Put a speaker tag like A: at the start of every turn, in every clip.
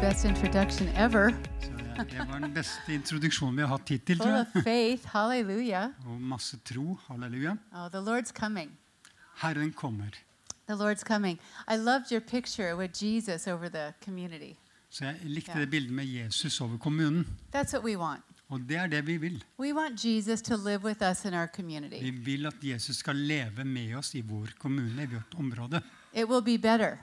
A: best introduction ever.
B: Så jeg- Det var den beste introduksjonen vi har hatt
A: Full
B: hittil. Tror
A: of
B: jeg.
A: faith. Hallelujah.
B: Og masse tro. Halleluja.
A: Oh, the Lord's coming.
B: Herren kommer.
A: The Lord's coming. I loved your picture with Jesus over the community.
B: Så jeg likte
A: Ja.
B: det bildet med Jesus over kommunen.
A: That's what we want.
B: Og det er det vi vil.
A: We want Jesus to live with us in our
B: Vi
A: community.
B: vil at Jesus skal leve med oss i vår kommune, i vårt område.
A: It will be better.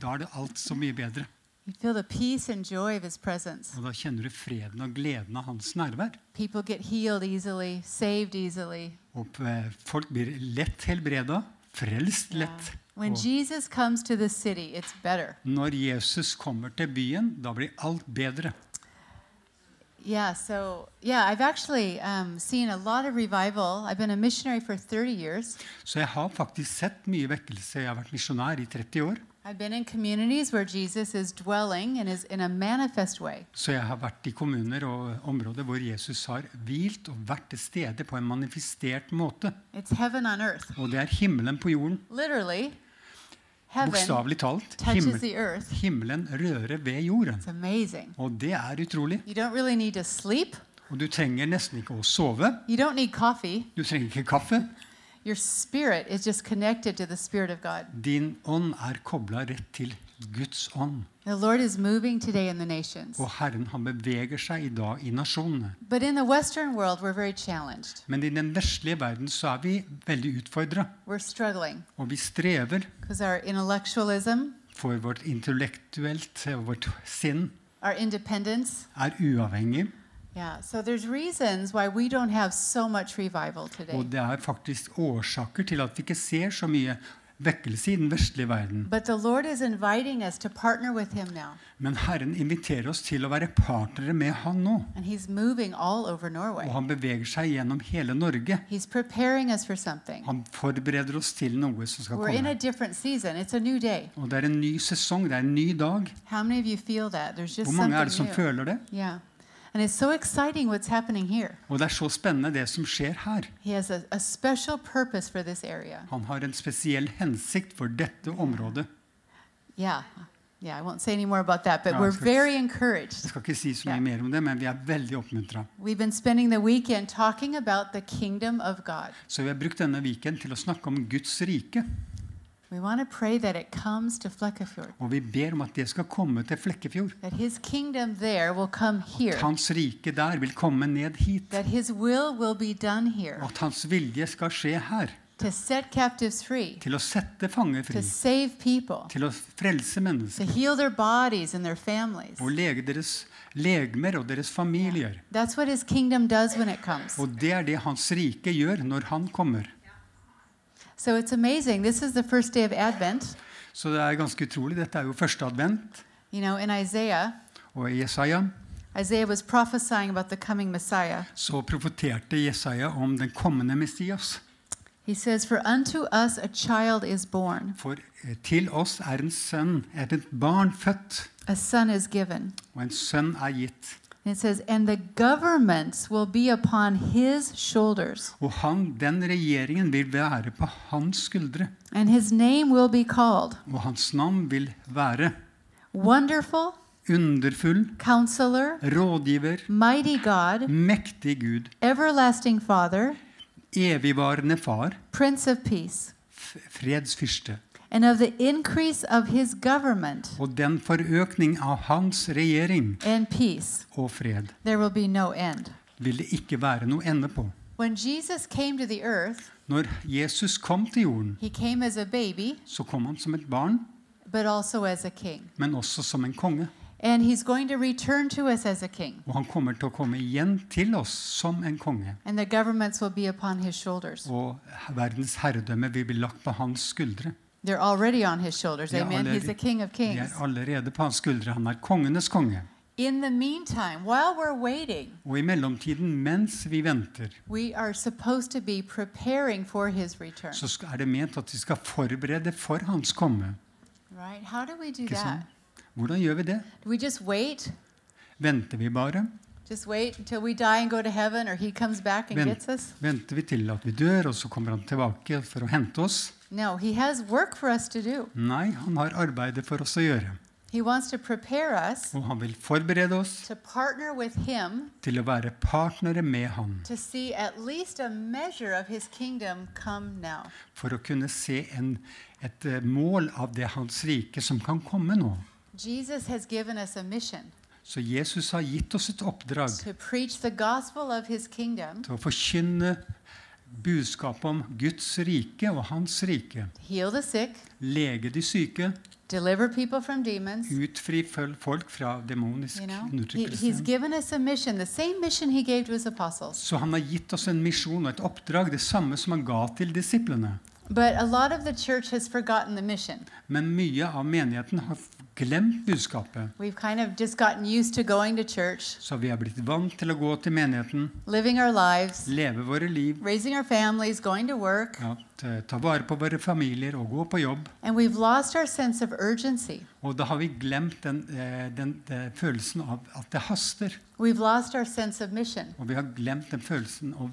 B: Da er det alt så mye bedre.
A: You feel the peace and joy of his presence.
B: Og da kjenner du freden og gleden av hans nærvær.
A: People get healed easily, saved easily.
B: Og eh, folk blir lett helbreda, frelst
A: Yeah.
B: lett.
A: When
B: Og
A: Jesus comes to the city, it's better.
B: når Jesus kommer til byen, da blir alt bedre.
A: Yeah, so yeah, I've actually um, seen a lot of revival. I've been a missionary for 30 years.
B: Så jeg har faktisk sett mye vekkelse. Jeg har vært misjonær i 30 år.
A: I've been in communities where Jesus is dwelling and is in a manifest way.
B: Så jeg har vært i kommuner og områder hvor Jesus har hvilt og vært til stede på en manifestert måte.
A: It's heaven on earth.
B: Og det er himmelen på jorden.
A: Literally, heaven
B: Bokstavelig talt.
A: touches
B: Himmel,
A: the earth.
B: himmelen rører ved jorden.
A: It's amazing.
B: Og det er utrolig.
A: You don't really need to sleep.
B: Og du trenger nesten ikke å sove.
A: You don't need coffee.
B: Du trenger ikke kaffe.
A: Your spirit is just connected to the Spirit of God.
B: Din ånd er kobla rett til Guds ånd.
A: The Lord is moving today in the nations.
B: Og Herren han beveger seg i dag i nasjonene.
A: But in the Western world, we're very challenged.
B: Men i den vestlige verden så er vi veldig utfordra.
A: We're struggling
B: Og vi strever
A: because our intellectualism,
B: for vårt intellektuelt, vårt sinn,
A: our independence,
B: er uavhengig.
A: yeah. So there's reasons why we don't have so much revival today.
B: Og det er faktisk årsaker til at vi ikke ser så mye vekkelse i den vestlige verden.
A: But the Lord is inviting us to partner with Him now,
B: Men Herren inviterer oss til å være partnere med Han nå.
A: and He's moving all over
B: Og
A: Norway.
B: Han beveger seg gjennom hele Norge.
A: He's preparing us for something.
B: Han forbereder oss til noe som skal
A: We're in a
B: komme.
A: different season. It's a new day.
B: Og det er en ny sesong, det er en ny dag.
A: How many of you feel that? There's just
B: Hvor mange er det som
A: something new.
B: føler det?
A: Yeah. And it's so exciting what's happening here.
B: Og det er så spennende det som skjer her.
A: He has a, a special purpose for this area.
B: Han har en spesiell hensikt for dette området.
A: Yeah. Yeah, I won't say any more about that, but
B: No,
A: we're
B: it's good.
A: very
B: Jeg
A: encouraged.
B: skal ikke si så
A: Ja.
B: mye mer om det, men vi er veldig oppmuntra.
A: We've been spending the weekend talking about the kingdom of God.
B: Så vi har brukt denne weekend til å snakke om Guds rike.
A: We want to pray that it comes to Fleckafjord.
B: Og vi ber om at det skal komme til Flekkefjord.
A: That his kingdom there will come here.
B: At hans rike der vil komme ned hit.
A: That his will will be done here.
B: Og at hans vilje skal skje her.
A: To set captives free.
B: Til å sette fanger fri.
A: To save people.
B: Til å frelse
A: To
B: mennesker.
A: heal their bodies and their families.
B: Og lege deres legemer og deres familier.
A: That's what his kingdom does when it comes.
B: Og det er det hans rike gjør når han kommer.
A: So it's amazing. This is the first day of Advent.
B: Så det er ganske utrolig. Dette er jo første advent.
A: You know, in Isaiah,
B: Og i Jesaja
A: Isaiah was prophesying about the coming Messiah.
B: så profeterte Jesaja om den kommende Messias.
A: He says, For unto us a child is born,
B: For eh, til oss er en sønn, er et barn født,
A: a son is given.
B: og en sønn er gitt.
A: And it says, And the governments will be upon his shoulders.
B: Og han, den regjeringen vil være på hans skuldre,
A: And his name will be called
B: og hans navn vil være
A: Wonderful,
B: underfull,
A: Counselor,
B: rådgiver,
A: Mighty God,
B: mektig Gud,
A: Everlasting Father,
B: evigvarende far,
A: Prince of Peace.
B: f- fredsfyrste.
A: And of the increase of his government
B: Og den forøkning av hans regjering
A: and peace,
B: og fred
A: there will be no end.
B: vil det ikke være noe ende på.
A: When Jesus came to the earth,
B: Når Jesus kom til jorden,
A: he came as a baby,
B: så kom han som et barn,
A: but also as a king.
B: men også som en konge.
A: And he's going to return to us as a king.
B: Og han kommer til å komme igjen til oss som en konge.
A: And the governments will be upon his shoulders.
B: Og verdens herredømme vil bli lagt på hans skuldre.
A: They're already on his shoulders.
B: They are
A: Amen. He's the
B: already-
A: king of
B: De
A: kings.
B: er allerede på hans skuldre. Han er kongenes konge.
A: In the meantime, while we're waiting,
B: Og i mellomtiden, mens vi venter,
A: We are supposed to be preparing for his return.
B: så sk- er det ment at vi skal forberede for hans komme.
A: Right? How do we do
B: Ikke
A: that?
B: sant? Hvordan gjør vi det?
A: Do we just wait?
B: Venter vi bare?
A: Just wait until we die and go to heaven or he comes back and
B: Vent-
A: gets us?
B: Venter vi til at vi dør, og så kommer han tilbake for å hente oss?
A: No, he has work for us to do.
B: Nei, han har arbeidet for oss å gjøre.
A: He wants to prepare us
B: Og han vil forberede oss
A: to partner with Him
B: til å være partnere med han.
A: to see at least a measure of His kingdom come now.
B: For å kunne se en, et eh, mål av det hans rike som kan komme nå.
A: Jesus has given us a mission
B: Så Jesus har gitt oss et oppdrag
A: to preach the gospel of His kingdom,
B: til å forkynne budskapet om Guds rike og hans rike.
A: heal the sick,
B: Lege de syke,
A: deliver people from demons.
B: utfri føl- folk fra demonisk
A: You know, he, he's
B: undertrykkelse.
A: given us a mission, the same mission he gave to his apostles.
B: Så han har gitt oss en misjon og et oppdrag, det samme som han ga til disiplene.
A: But a lot of the church has forgotten the mission.
B: Men mye av menigheten har f- glemt budskapet.
A: We've kind of just gotten used to going to church,
B: Så vi er blitt vant til å gå til menigheten,
A: living our lives,
B: leve våre liv,
A: raising our families, going to work,
B: ja, t- ta vare på våre familier og gå på jobb.
A: and we've lost our sense of urgency.
B: Og da har vi glemt den, eh, den, eh, følelsen av at det haster.
A: We've lost our sense of mission.
B: Og vi har glemt den følelsen og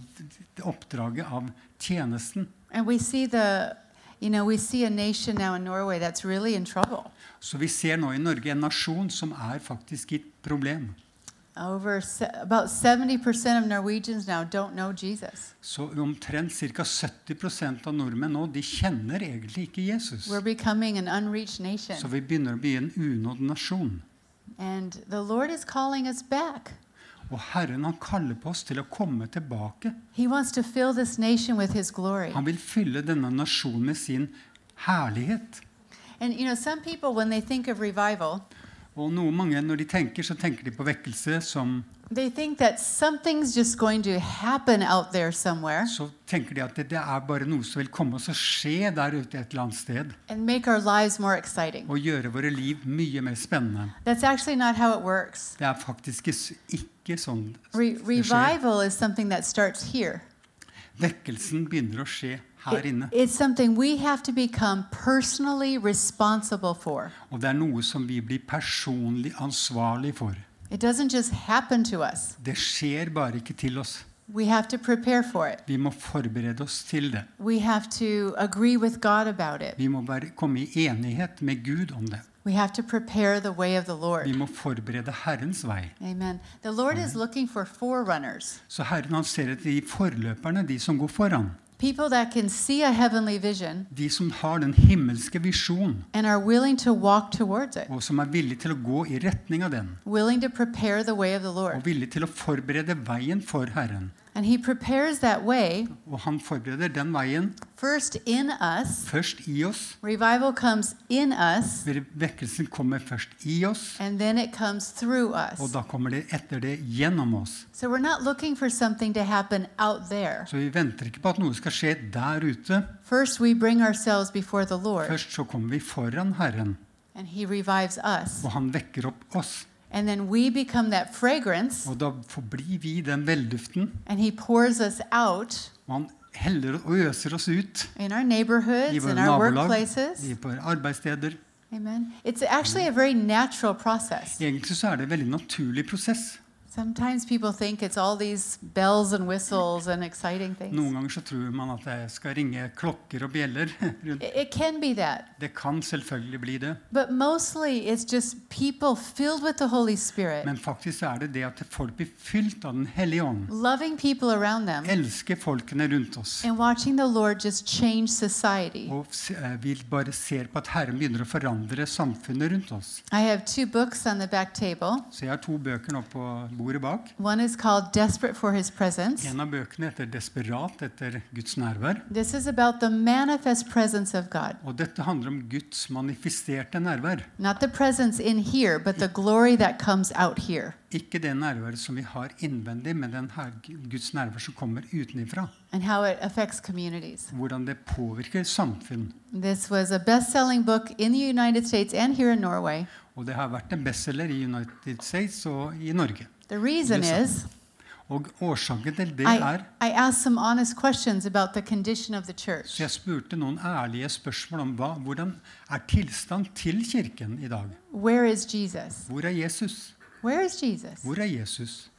B: det oppdraget av tjenesten.
A: And we see the you know, we see a nation now in Norway that's really in trouble.
B: Så vi ser nå i Norge en nasjon som er faktisk i et problem.
A: Over se- about 70% of Norwegians now don't know Jesus.
B: Så omtrent ca. 70 av nordmenn nå de kjenner egentlig ikke Jesus.
A: We're becoming an unreached nation.
B: Så vi begynner å bli en unådd nasjon.
A: And the Lord is calling us back.
B: Og Herren han kaller på oss til å komme tilbake.
A: He wants to fill this nation with His glory.
B: Han vil fylle denne nasjonen med sin herlighet.
A: And you know, some people, when they think of revival,
B: Og noe mange, når de tenker, så tenker de på vekkelse som
A: they think that something's just going to happen out there somewhere
B: Så tenker de at det, det er bare noe som vil komme og så skje der ute et eller annet sted.
A: and make our lives more exciting.
B: Og gjøre våre liv mye mer spennende.
A: That's actually not how it works.
B: Det er faktisk is- ikke sånn
A: Re-
B: det skjer.
A: revival is something that starts here.
B: Vekkelsen begynner å skje
A: It-
B: her inne.
A: it's something we have to become personally responsible for.
B: Og det er noe som vi blir personlig ansvarlig for.
A: It doesn't just happen to us.
B: Det skjer bare ikke til oss.
A: We have to prepare for it.
B: Vi må forberede oss til det.
A: We have to agree with God about it.
B: Vi må være, komme i enighet med Gud om det.
A: We have to prepare the way of the
B: Vi
A: Lord.
B: må forberede Herrens vei.
A: Amen. The Lord is looking for forerunners,
B: Så Herren han ser etter de forløperne, de som går foran.
A: people that can see a heavenly vision
B: De som har den himmelske visjon,
A: and are willing to walk towards it,
B: og som er villig til å gå i retning av den.
A: willing to prepare the way of the
B: Og
A: Lord.
B: villig til å forberede veien for Herren.
A: And He prepares that way
B: Og han forbereder den veien
A: first in us.
B: først i oss.
A: Revival comes in us,
B: Vekkelsen kommer først i oss,
A: and then it comes through
B: og
A: us.
B: da kommer det etter det gjennom oss.
A: So we're not looking for something to happen out there.
B: Så vi venter ikke på at noe skal skje der ute.
A: First, we bring ourselves before the Lord,
B: Først så kommer vi foran Herren,
A: and He revives us.
B: og han vekker opp oss.
A: And then we become that fragrance
B: Og da forblir vi den velduften,
A: And he pours us out
B: og han heller og øser oss ut
A: in our
B: i
A: neighborhoods,
B: våre
A: in our
B: nabolag,
A: workplaces.
B: i våre arbeidssteder.
A: Amen. It's actually a very natural process.
B: Egentlig så er det en veldig naturlig prosess.
A: Sometimes people think it's all these bells and whistles and exciting
B: Noen
A: things.
B: ganger så tror man at det skal ringe klokker og bjeller rundt.
A: It it can be that,
B: Det kan selvfølgelig bli det,
A: but mostly it's just people filled with the Holy Spirit,
B: men faktisk så er det det at folk blir fylt av Den hellige ånd.
A: loving people around them,
B: Elsker folkene rundt oss.
A: and watching the Lord just change society.
B: Og se- eh, vi bare ser på at Herren begynner å forandre samfunnet rundt oss.
A: I have two books on the back table.
B: Så jeg har to bøker nå på bordet bak.
A: One is called Desperate for His Presence.
B: En av bøkene heter 'Desperat etter Guds nærvær'.
A: This is about the manifest presence of God.
B: Og dette handler om Guds manifesterte nærvær.
A: Not the presence in here, but the glory that comes out here.
B: Ikke det nærværet som vi har innvendig, men den her Guds nærvær som kommer utenifra.
A: And how it affects communities.
B: Hvordan det påvirker samfunn.
A: This was a best selling book in the United States and here in Norway.
B: Og det har vært en bestselger i United States og i Norge.
A: The reason
B: Listen.
A: is
B: Og årsaken til det er
A: I, I asked some honest questions about the condition of the church.
B: Så jeg spurte noen ærlige spørsmål om hva, hvordan er tilstand til kirken i dag.
A: Where is Jesus?
B: Hvor er Jesus?
A: Where is Jesus?
B: Hvor er Jesus?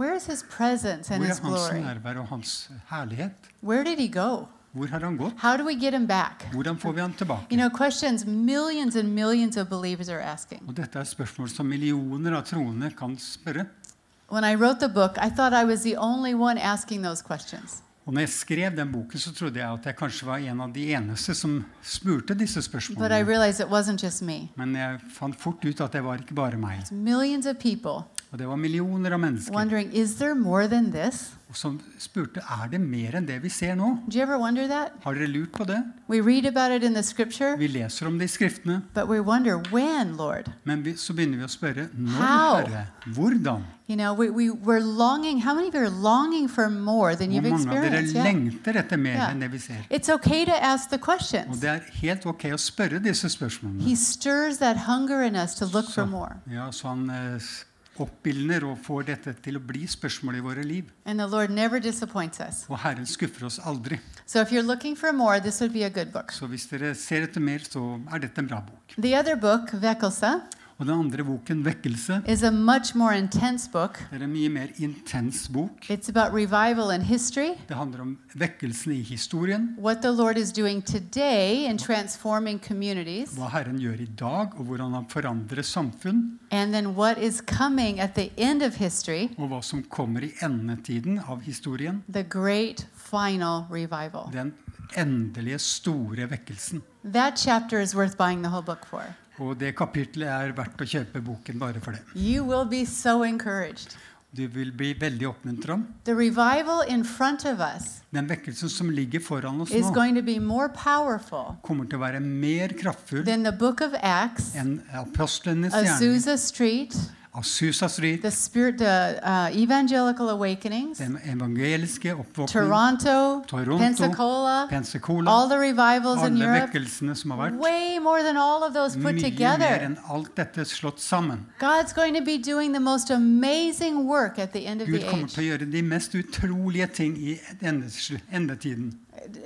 A: Where is his presence
B: Hvor
A: and
B: er
A: his
B: hans
A: glory?
B: nærvær og hans herlighet?
A: Where did he go?
B: Hvor har han gått?
A: How do we get him back?
B: Hvordan får vi han
A: You
B: tilbake?
A: know, questions millions and millions of believers are asking.
B: Og Dette er spørsmål som millioner av troende kan spørre.
A: When I wrote the book, I thought I was the only one asking those questions.
B: Og når jeg skrev den boken, så trodde jeg at jeg kanskje var en av de eneste som spurte disse
A: But I
B: spørsmålene.
A: realized it wasn't just me.
B: Men jeg fant fort ut at det var ikke bare meg.
A: It's millions of people
B: Og det var millioner av mennesker
A: wondering, is there more than this?
B: som spurte er det mer enn det vi ser nå.
A: Do you ever wonder that?
B: Har dere lurt på det?
A: We read about it in the scripture,
B: Vi leser om det i skriftene,
A: but we wonder, when, Lord?
B: men vi, så begynner vi å spørre når,
A: How?
B: Herre? Hvordan?
A: You know, we, we, we're longing. How many of you are longing for more than
B: Hvor
A: you've
B: mange av dere
A: experienced? Yeah.
B: lengter etter mer
A: Ja.
B: enn det vi ser?
A: It's okay to ask the
B: Og
A: questions.
B: det er helt ok å spørre disse spørsmålene.
A: He stirs that hunger in us to look for more.
B: Ja, så han eh, s- oppildner og får dette til å bli spørsmål i våre liv.
A: And the Lord never disappoints us.
B: Og Herren skuffer oss aldri.
A: So if you're looking for more, this would be a good book.
B: Så hvis dere ser etter mer, så er dette en bra bok.
A: The other book, Vekkelse,
B: Og den andre boken, 'Vekkelse',
A: is a much more intense book.
B: er en mye mer intens bok.
A: It's about revival in history,
B: Det handler om vekkelsen i historien,
A: what the Lord is doing today in transforming communities,
B: hva Herren gjør i dag, og hvordan han forandrer samfunn,
A: and then what is coming at the end of history,
B: og hva som kommer i endetiden av historien.
A: the great final revival.
B: Den endelige, store vekkelsen.
A: That chapter is worth buying the whole book for.
B: Og det kapitlet er verdt å kjøpe boken bare for det.
A: You will be so encouraged.
B: Du vil bli veldig oppmuntra.
A: The revival in front of us
B: Den vekkelsen som ligger foran oss
A: is
B: nå,
A: going to be more powerful
B: kommer til å være mer kraftfull
A: than the book of Acts,
B: enn apostlenes gjerning.
A: Azusa Street,
B: Azusa Street,
A: the spirit, the uh, evangelical awakenings,
B: den evangeliske oppvåkningen,
A: Toronto,
B: Toronto,
A: Pensacola, all
B: Pensacola,
A: the revivals in
B: alle
A: Europe,
B: vekkelsene som har vært.
A: way more than all of those put
B: Mye mer
A: together.
B: enn alt dette slått sammen.
A: God's going to be doing the most amazing work at the end of
B: Gud
A: the
B: kommer
A: age.
B: til å gjøre de mest utrolige ting i endesl- endetiden.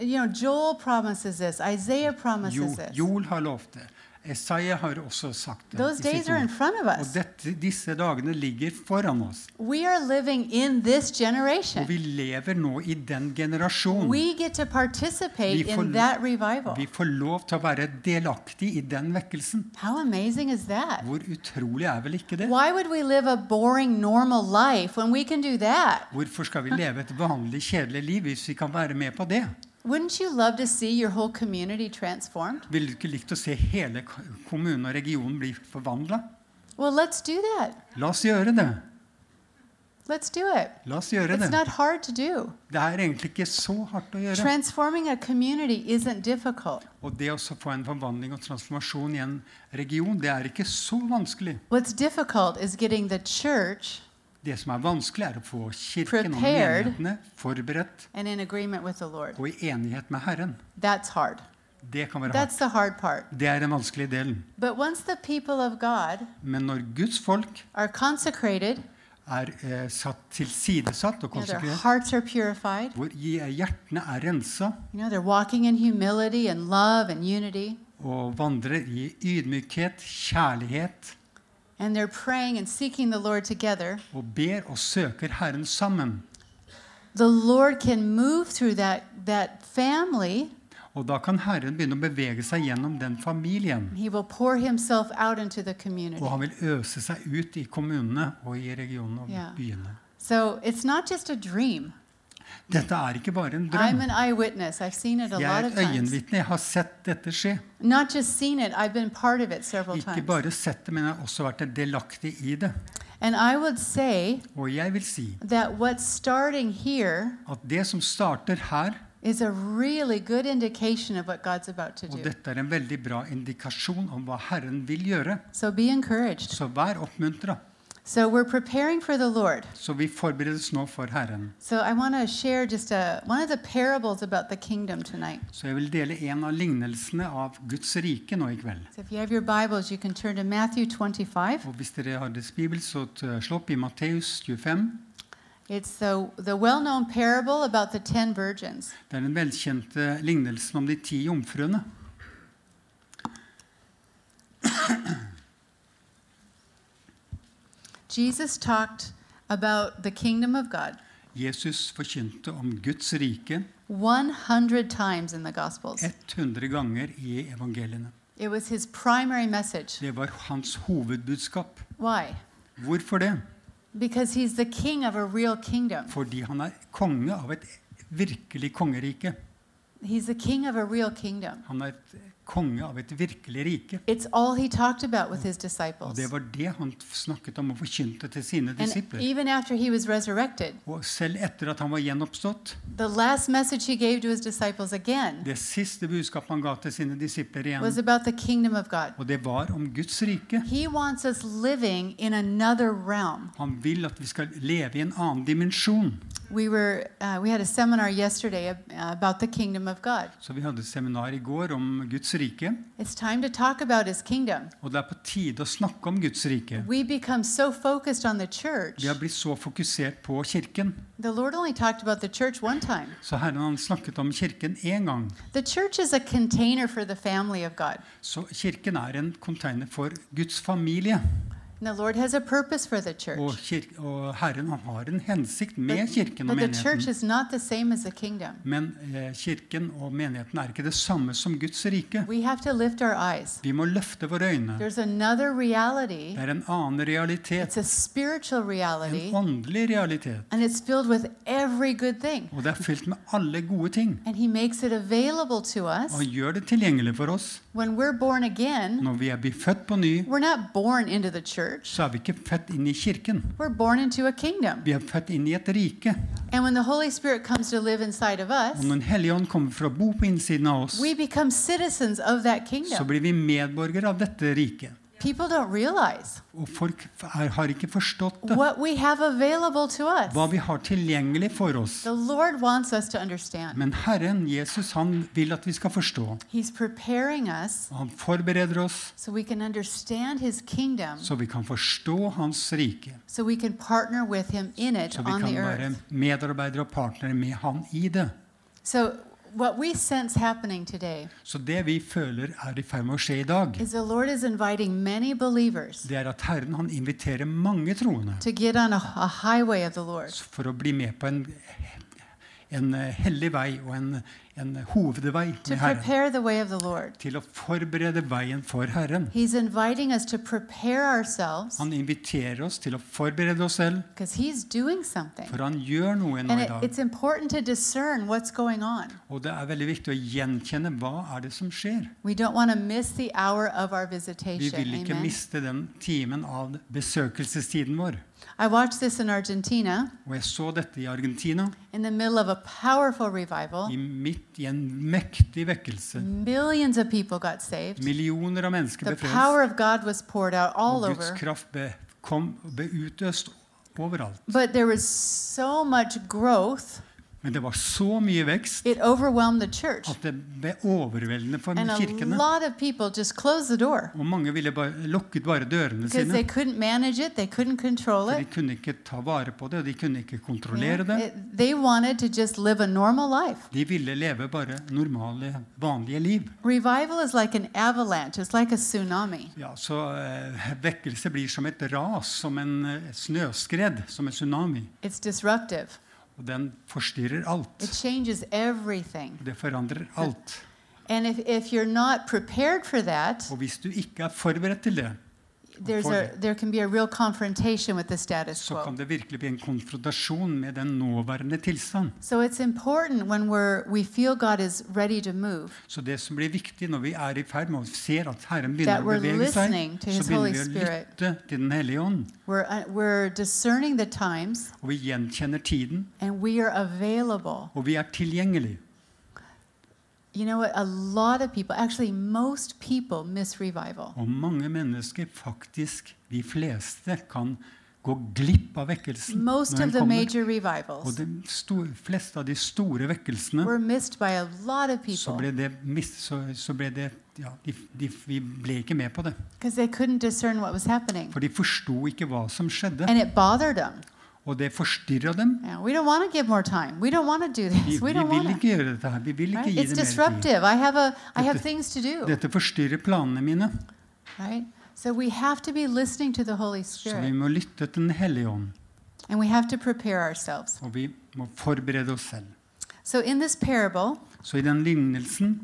A: You know, Joel promises this, Isaiah
B: Jo,
A: promises this.
B: Joel har lovt det. Isaiah har også sagt det.
A: Those
B: i sitt
A: days are in
B: ord.
A: front of
B: Og
A: us.
B: dette, disse dagene ligger foran oss.
A: We are living in this
B: Og vi
A: generation.
B: lever nå i den generasjonen.
A: We get to participate
B: Vi får-
A: in that revival.
B: Vi får lov til å være delaktig i den vekkelsen.
A: How amazing is that?
B: Hvor utrolig er vel ikke det?
A: Why would we live a boring, normal life when we can do that?
B: Hvorfor skal vi leve et vanlig, kjedelig liv hvis vi kan være med på det?
A: Wouldn't you love to see your whole community transformed?
B: Ville du ikke likt å se hele k- kommunen og regionen bli forvandla?
A: Well, let's do that.
B: La oss gjøre det.
A: Let's do it.
B: La oss gjøre
A: It's
B: det.
A: not hard to do.
B: Det er egentlig ikke så hardt å gjøre.
A: Transforming a community isn't difficult.
B: Og det å så få en forvandling og transformasjon i en region, det er ikke så vanskelig.
A: What's difficult is getting the church
B: Det som er vanskelig, er å få kirken og
A: Prepared.
B: menighetene forberedt
A: and in agreement with the Lord.
B: og i enighet med Herren.
A: That's hard.
B: Det kan være hardt.
A: That's the hard part.
B: Det er den vanskelige delen.
A: But once the people of God
B: Men når Guds folk
A: are consecrated,
B: er eh, satt tilsidesatt og
A: you know, their
B: konsekvent,
A: hearts are purified,
B: hvor i- eh, hjertene er rensa
A: you know, they're walking in humility and love and unity,
B: og vandrer i ydmykhet, kjærlighet,
A: and they're praying and seeking the Lord together,
B: og ber og søker Herren sammen.
A: the Lord can move through that, that family.
B: Og da kan Herren begynne å bevege seg gjennom den familien.
A: He will pour himself out into the community.
B: Og han vil øse seg ut i kommunene og i regionene og
A: Ja.
B: byene.
A: So it's not just a dream.
B: Dette er ikke bare en
A: I'm
B: drøm.
A: an eyewitness. I've seen it a
B: Jeg
A: lot
B: er
A: of
B: et
A: times.
B: øyenvitne. Jeg har sett dette skje.
A: Not just seen it, I've been part of it several
B: Ikke
A: times.
B: bare sett det, men jeg har også vært delaktig i det.
A: And I would say
B: Og jeg vil si
A: that what's starting here
B: at det som starter her,
A: is a really good indication of what God's about to
B: og
A: do.
B: dette er en veldig bra indikasjon om hva Herren vil gjøre,
A: So be encouraged.
B: så vær oppmuntra.
A: So we're preparing for the Lord.
B: Så vi forberedes nå for Herren.
A: So I want to share just a, one of the parables about the kingdom tonight.
B: Så jeg vil dele en av lignelsene av Guds rike nå i kveld.
A: So if you have your Bibles, you can turn to Matthew 25.
B: Og hvis dere har deres bibel, så t- slå opp i Matteus 25.
A: It's the, the well known parable about the ten virgins.
B: Det er den velkjente lignelsen om de ti jomfruene.
A: Jesus talked about the kingdom of God,
B: Jesus forkynte om Guds rike,
A: 100 times in the Gospels.
B: 100 ganger i evangeliene.
A: It was his primary message.
B: Det var hans hovedbudskap.
A: Why?
B: Hvorfor det?
A: Because he's the king of a real kingdom.
B: Fordi han er konge av et virkelig kongerike.
A: He's the king of a real kingdom.
B: Han er et konge av et virkelig rike.
A: It's all he talked about with his
B: Og
A: disciples.
B: det var det han snakket om og forkynte til sine
A: And
B: disipler.
A: even after he was resurrected,
B: Og selv etter at han var gjenoppstått,
A: the last message he gave to his disciples again
B: det siste budskapet han ga til sine disipler
A: was
B: igjen,
A: about the kingdom of God.
B: og det var om Guds rike.
A: He wants us living in another realm.
B: Han vil at vi skal leve i en annen dimensjon.
A: We were uh, we had a seminar yesterday ab- uh, about the kingdom of God.
B: Så vi hadde et seminar i går om Guds rike,
A: It's time to talk about his kingdom.
B: og det er på tide å snakke om Guds rike.
A: We become so focused on the church.
B: Vi har blitt så fokusert på kirken.
A: The Lord only talked about the church one time.
B: Så Herren han snakket om kirken én gang.
A: The church is a container for the family of God.
B: Så kirken er en container for Guds familie.
A: And the Lord has a purpose for the
B: Og,
A: church.
B: kirk- og Herren han har en hensikt med
A: But,
B: kirken og
A: but the church
B: menigheten.
A: is not the same as the kingdom.
B: Men eh, kirken og menigheten er ikke det samme som Guds rike.
A: We have to lift our eyes.
B: Vi må løfte våre øyne.
A: There's another reality.
B: Det er en annen realitet.
A: It's a spiritual reality,
B: En åndelig realitet.
A: and it's filled with every good thing.
B: Og det er fylt med alle gode ting.
A: And He makes it available to
B: Og
A: us.
B: han gjør det tilgjengelig for oss.
A: When we're born again,
B: Når vi er blitt født på ny,
A: we're not born into the church,
B: så er vi ikke født inn i kirken.
A: we're born into a kingdom.
B: Vi er født inn i et rike.
A: And when the Holy Spirit comes to live inside of
B: Og
A: us,
B: når Den hellige ånd kommer for å bo på innsiden av oss,
A: we become citizens of that
B: så
A: kingdom.
B: blir vi medborgere av dette riket.
A: People don't realize
B: Og folk er, har ikke forstått det.
A: what we have available to us.
B: Hva vi har tilgjengelig for oss.
A: The Lord wants us to understand.
B: Men Herren Jesus han vil at vi skal forstå. Og
A: He's preparing us
B: Han forbereder oss
A: so we can understand His kingdom,
B: så vi kan forstå Hans rike.
A: so we can partner with Him in it
B: Så vi
A: on
B: kan
A: the
B: være
A: earth.
B: medarbeidere og partnere med Han i det.
A: So, what we sense happening today
B: Så det vi føler er i ferd med å skje i dag,
A: is the Lord is inviting many believers
B: det er at Herren han inviterer mange troende
A: to get on a, a highway of the Lord.
B: for å bli med på en, en hellig vei og en, en hovedvei
A: to
B: med Herren.
A: prepare the way of the Lord.
B: Til å forberede veien for Herren.
A: He's inviting us to prepare ourselves
B: Han inviterer oss til å forberede oss selv,
A: because He's doing something.
B: for han gjør noe nå
A: And
B: i
A: it,
B: dag.
A: it's important to discern what's going on.
B: Og det er veldig viktig å gjenkjenne hva er det som skjer.
A: We don't want to miss the hour of our
B: Vi
A: visitation.
B: vil ikke
A: Amen.
B: miste den timen av besøkelsestiden vår.
A: I watched this in Argentina
B: Og jeg så dette i Argentina,
A: in the middle of a powerful revival.
B: i midt i en mektig vekkelse.
A: Millions of people got saved.
B: Millioner av mennesker
A: The
B: ble
A: power
B: frelst,
A: of God was poured out all
B: og Guds
A: over.
B: kraft ble, kom, ble utøst overalt.
A: But there was so much growth,
B: Men det var så mye vekst
A: it overwhelmed the church.
B: at det ble overveldende for
A: And a
B: kirkene.
A: lot of people just closed the door.
B: Og mange ville bare, lukket bare dørene
A: Because
B: sine.
A: they couldn't manage it, they couldn't control
B: For de
A: it.
B: kunne ikke ta vare på det, og de kunne ikke
A: Yeah.
B: kontrollere det.
A: It- they wanted to just live a normal life.
B: De ville leve bare normale, vanlige liv.
A: Revival is like an avalanche, it's like a tsunami.
B: Ja, så eh, Vekkelse blir som et ras, som en eh, snøskred, som en tsunami.
A: It's disruptive,
B: Og den forstyrrer
A: it
B: alt.
A: changes everything.
B: Det forandrer alt.
A: And if, if you're not prepared for that,
B: Og hvis du ikke er forberedt til det,
A: there's a, there can be a real confrontation with the status
B: så
A: quo.
B: kan det virkelig bli en konfrontasjon med den nåværende tilstand.
A: So it's important when we're, we feel God is ready to move
B: Så det som blir viktig når vi er i ferd med å ser at Herren begynner
A: That
B: å
A: we're
B: bevege seg,
A: listening to
B: så
A: His Holy
B: begynner vi å
A: Spirit.
B: lytte til Den hellige ånd.
A: we're, uh, we're discerning the times
B: Og vi gjenkjenner tiden,
A: and we are available.
B: og vi er tilgjengelige.
A: You know what? A lot of people, actually, most people miss revival.
B: Og mange mennesker, faktisk de fleste, kan gå glipp av vekkelsen
A: Most
B: når
A: of
B: den
A: the
B: kommer.
A: major
B: Og
A: revivals
B: de sto- fleste av de store vekkelsene,
A: were missed by a lot of
B: så
A: people
B: ble det, mist, så, så ble det ja, de, de, Vi ble ikke med på det.
A: because they couldn't discern what was happening.
B: For de forsto ikke hva som skjedde,
A: And it bothered them.
B: og det forstyrra dem.
A: Yeah, we don't want to give more time. We don't want to do
B: Vi,
A: this. We
B: vi
A: don't
B: vil
A: want to.
B: ikke gjøre dette her. Vi vil ikke
A: Right?
B: gi
A: It's
B: det mer tid.
A: disruptive. I have, a, I have
B: Dette-
A: things to do.
B: Dette forstyrrer planene mine.
A: Right? So we have to be listening to the Holy
B: Så vi
A: Spirit
B: må lytte til Den hellige ånd,
A: and we have to prepare ourselves.
B: og vi må forberede oss selv.
A: So in this parable,
B: Så i den lignelsen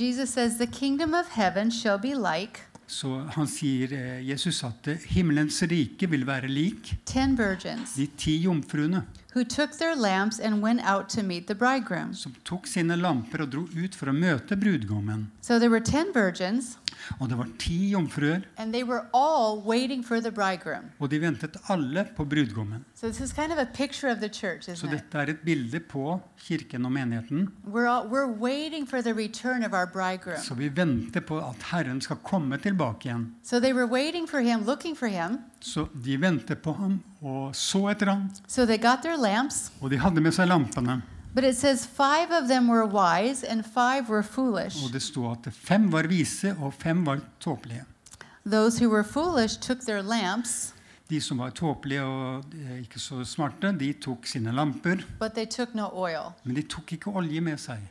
A: Jesus says, The kingdom of heaven shall be like
B: så han sier eh, Jesus at eh, himmelens rike vil være lik
A: ten virgins
B: de ti jomfruene
A: who took their lamps and went out to meet the bridegroom.
B: som tok sine lamper og dro ut for å møte brudgommen.
A: So there were ten virgins,
B: Og det var ti jomfruer,
A: and they were all waiting for the bridegroom.
B: og de ventet alle på brudgommen.
A: So this is kind of a picture of the church,
B: Så
A: isn't it?
B: dette er et bilde på kirken og menigheten.
A: We're, all, we're waiting for the return of our bridegroom.
B: Så vi venter på at Herren skal komme tilbake igjen.
A: So they were waiting for him, looking for him.
B: Så de ventet på ham og så etter ham,
A: So they got their lamps.
B: og de hadde med seg lampene.
A: But it says five of them were wise and five were foolish.
B: Og det sto at fem var vise, og fem var tåpelige.
A: Those who were foolish took their lamps,
B: De som var tåpelige og eh, ikke så smarte, de tok sine lamper,
A: but they took no oil.
B: men de tok ikke olje med seg.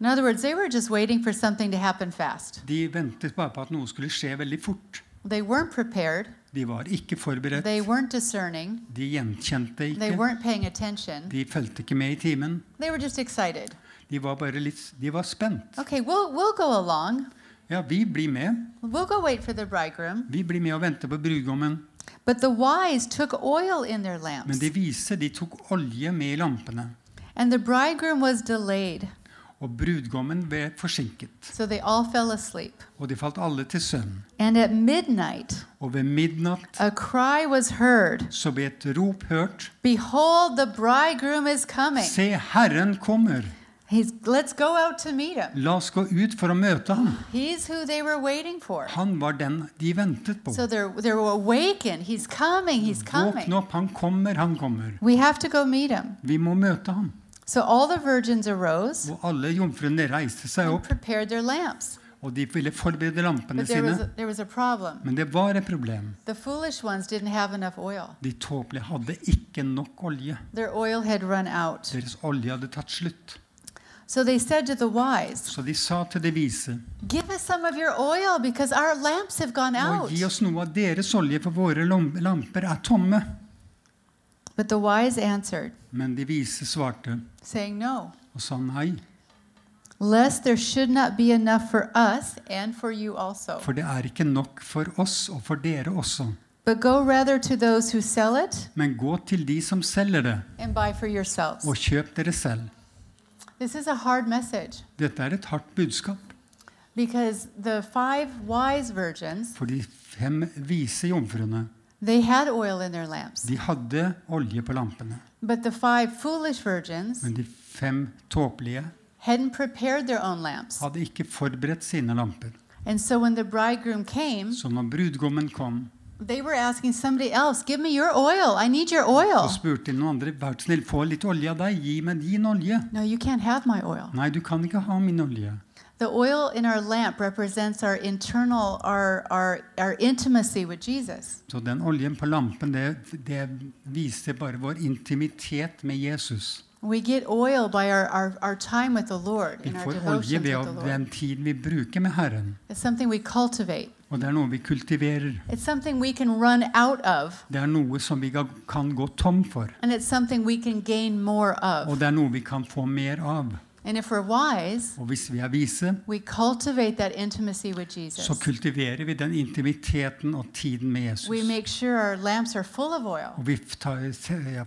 A: In other words, they were just waiting for something to happen fast.
B: De ventet bare på at noe skulle skje veldig fort.
A: They weren't prepared,
B: De var ikke forberedt,
A: they weren't discerning,
B: de gjenkjente
A: they
B: ikke,
A: weren't paying attention.
B: de fulgte ikke med i timen.
A: They were just excited.
B: De var bare litt De var spent.
A: Okay, we'll, we'll go along.
B: Ja, vi blir med.
A: We'll go wait for the bridegroom.
B: Vi blir med og venter på brudgommen.
A: But the wise took oil in their
B: Men
A: lamps,
B: de vise, de tok olje med i lampene.
A: and the bridegroom was delayed,
B: Og brudgommen ble forsinket.
A: so they all fell asleep.
B: Og de falt alle til søvn.
A: And at midnight,
B: Og ved midnatt
A: a cry was heard
B: så ble et rop hørt.
A: Behold, the bridegroom is coming.
B: Se, Herren kommer!
A: He's, let's go out to meet him.
B: La oss gå ut for å møte ham.
A: He's who they were waiting for.
B: Han var den de ventet på.
A: So they're, they're awakened. He's coming. He's
B: Våkne
A: coming.
B: opp, han kommer, han kommer.
A: We have to go meet him.
B: Vi må møte ham.
A: So all the virgins arose
B: Og alle jomfruene reiste seg
A: and
B: opp,
A: prepared their lamps.
B: og de ville forberede lampene
A: But there was,
B: sine.
A: a, there was a problem.
B: Men det var et problem.
A: The foolish ones didn't have enough oil,
B: De tåpelige hadde ikke nok olje.
A: their oil had run out.
B: Deres olje hadde tatt slutt.
A: So they said to the wise,
B: Så de sa til de vise,
A: Give us some of your oil because our lamps have gone
B: nå
A: out.
B: gi oss noe av deres olje, for våre lam- lamper er tomme.
A: But the wise answered,
B: Men de vise svarte
A: saying, No,
B: og sa nei,
A: lest there should not be enough for us and for you also.
B: for det er ikke nok for oss og for dere også.
A: But go rather to those who sell it
B: Men gå til de som selger det,
A: and buy for yourselves.
B: og kjøp dere selv.
A: This is a hard message
B: Dette er et hardt budskap,
A: because the five wise virgins,
B: for de fem vise jomfruene,
A: they had oil in their lamps.
B: de hadde olje på lampene.
A: But the five foolish virgins
B: Men de fem tåpelige
A: hadn't prepared their own lamps.
B: hadde ikke forberedt sine lamper.
A: And so when the bridegroom came,
B: Så når brudgommen kom,
A: they were asking somebody else, Give me your oil. I need your
B: og
A: oil.
B: spurte noen andre vær så snill, få litt olje av deg, gi meg din olje.
A: No, you can't have my oil.
B: Nei, du kan ikke ha min olje.
A: The oil in our lamp represents our internal, our, our, our intimacy with Jesus.
B: Så den oljen på lampen, det, det viser bare vår intimitet med Jesus.
A: We get oil by our, our, our time with the Lord
B: Vi
A: and our
B: får olje
A: devotion
B: ved
A: with
B: å-
A: the Lord.
B: den tiden vi bruker med Herren.
A: It's something we cultivate.
B: Og det er noe vi kultiverer.
A: It's something we can run out of,
B: Det er noe som vi ga- kan gå tom for.
A: and it's something we can gain more
B: Og
A: of.
B: det er noe vi kan få mer av.
A: And if we're wise,
B: Og hvis vi er vise,
A: we cultivate that intimacy with Jesus.
B: så kultiverer vi den intimiteten og tiden med Jesus.
A: We make sure our lamps are full of oil,
B: Og vi tar,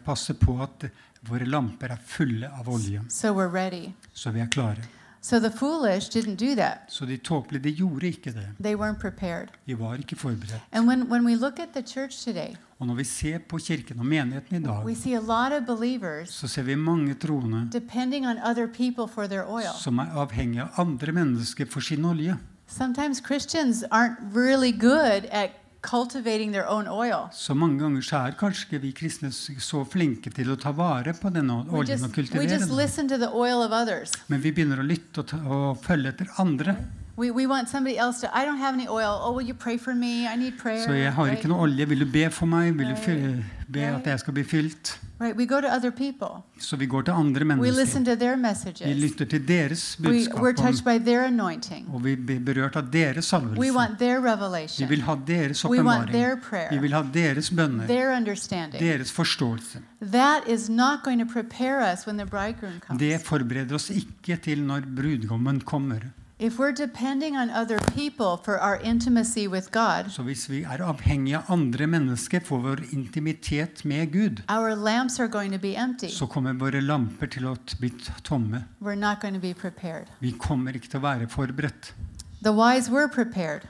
B: passer på at våre lamper er fulle av olje,
A: so we're ready.
B: så vi er klare.
A: So the foolish didn't do that.
B: Så de tåpelige de gjorde ikke det.
A: They weren't prepared.
B: De var ikke forberedt.
A: And when, when we look at the church today,
B: Og når vi ser på kirken og menigheten i dag,
A: we see a lot of believers
B: så ser vi mange troende
A: depending on other people for their oil.
B: som er avhengige av andre mennesker for sin olje.
A: Sometimes Christians aren't really good at cultivating their own oil.
B: Så mange ganger så er kanskje ikke vi kristne s- så flinke til å ta vare på denne ol-
A: We
B: oljen og
A: just, we
B: kultivere
A: just
B: den.
A: listen to the oil of others.
B: Men vi begynner å lytte og, ta, og følge etter andre.
A: We, we want somebody else to, I don't have any oil. Oh, will you pray for me? I need prayer.
B: Så jeg har
A: right?
B: ikke noe olje. Vil du be for meg? Vil du
A: Nei.
B: fylle, be
A: Nei.
B: at jeg skal bli fylt?
A: Right? We go to other people.
B: Så vi går til andre
A: We
B: mennesker.
A: listen to their
B: Vi
A: messages.
B: lytter til deres
A: We,
B: budskap,
A: we're touched by
B: om,
A: their anointing.
B: og vi blir berørt av deres
A: We
B: salvelse.
A: want their
B: Vi vil
A: revelation.
B: ha deres
A: We want
B: åpenbaring.
A: their
B: Vi
A: prayer,
B: vil ha deres bønner,
A: their understanding.
B: deres forståelse.
A: That is not going to prepare us when the bridegroom
B: Det
A: comes.
B: forbereder oss ikke til når brudgommen kommer.
A: If we're depending on other people for our intimacy with God,
B: Så hvis vi er avhengige av andre mennesker for vår intimitet med Gud,
A: our lamps are going to be empty.
B: så kommer våre lamper til å t- bli t- tomme.
A: We're not going to be prepared.
B: Vi kommer ikke til å være forberedt.
A: The wise were prepared,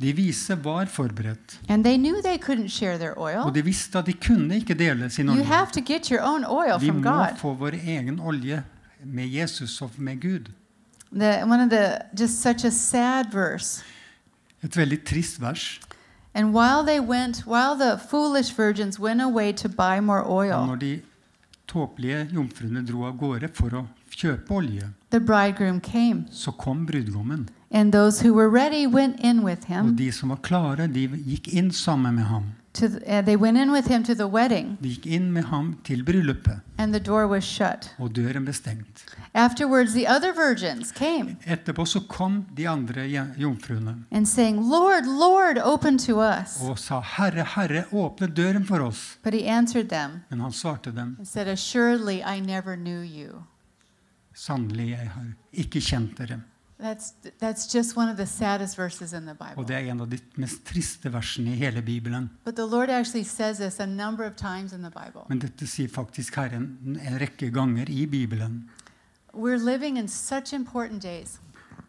B: De vise var forberedt,
A: and they knew they couldn't share their
B: og
A: oil.
B: de visste at de kunne ikke dele sin
A: You
B: olje.
A: have to get your own oil
B: Vi
A: from
B: må
A: God.
B: få vår egen olje med Jesus og med Gud.
A: The, one of the just such a sad verse.
B: Et veldig trist vers.
A: And while they went, while the foolish virgins went away to buy more oil,
B: Når de tåpelige jomfruene dro av gårde for å kjøpe olje,
A: the bridegroom came,
B: så kom brudgommen.
A: and those who were ready went in with
B: Og
A: him.
B: de som var klare, de gikk inn sammen med ham.
A: To the, uh, they went in with him to the wedding,
B: De gikk inn med ham til bryllupet,
A: and the door was shut.
B: og døren ble stengt.
A: Afterwards, the other virgins came
B: Etterpå så kom de andre je- jomfruene
A: and saying, "Lord, Lord, open to us."
B: og sa, Herre, Herre, åpne døren for oss.
A: But he answered them.
B: Men han svarte dem,
A: and said, Assuredly, I never knew you.
B: sannelig, jeg har ikke kjent dere.
A: That's, that's just one of the saddest verses in the
B: Og
A: Bible.
B: det er en av de mest triste versene i hele Bibelen.
A: But the Lord actually says this a number of times in the Bible.
B: Men dette sier faktisk Herren en rekke ganger i Bibelen.
A: We're living in such important days,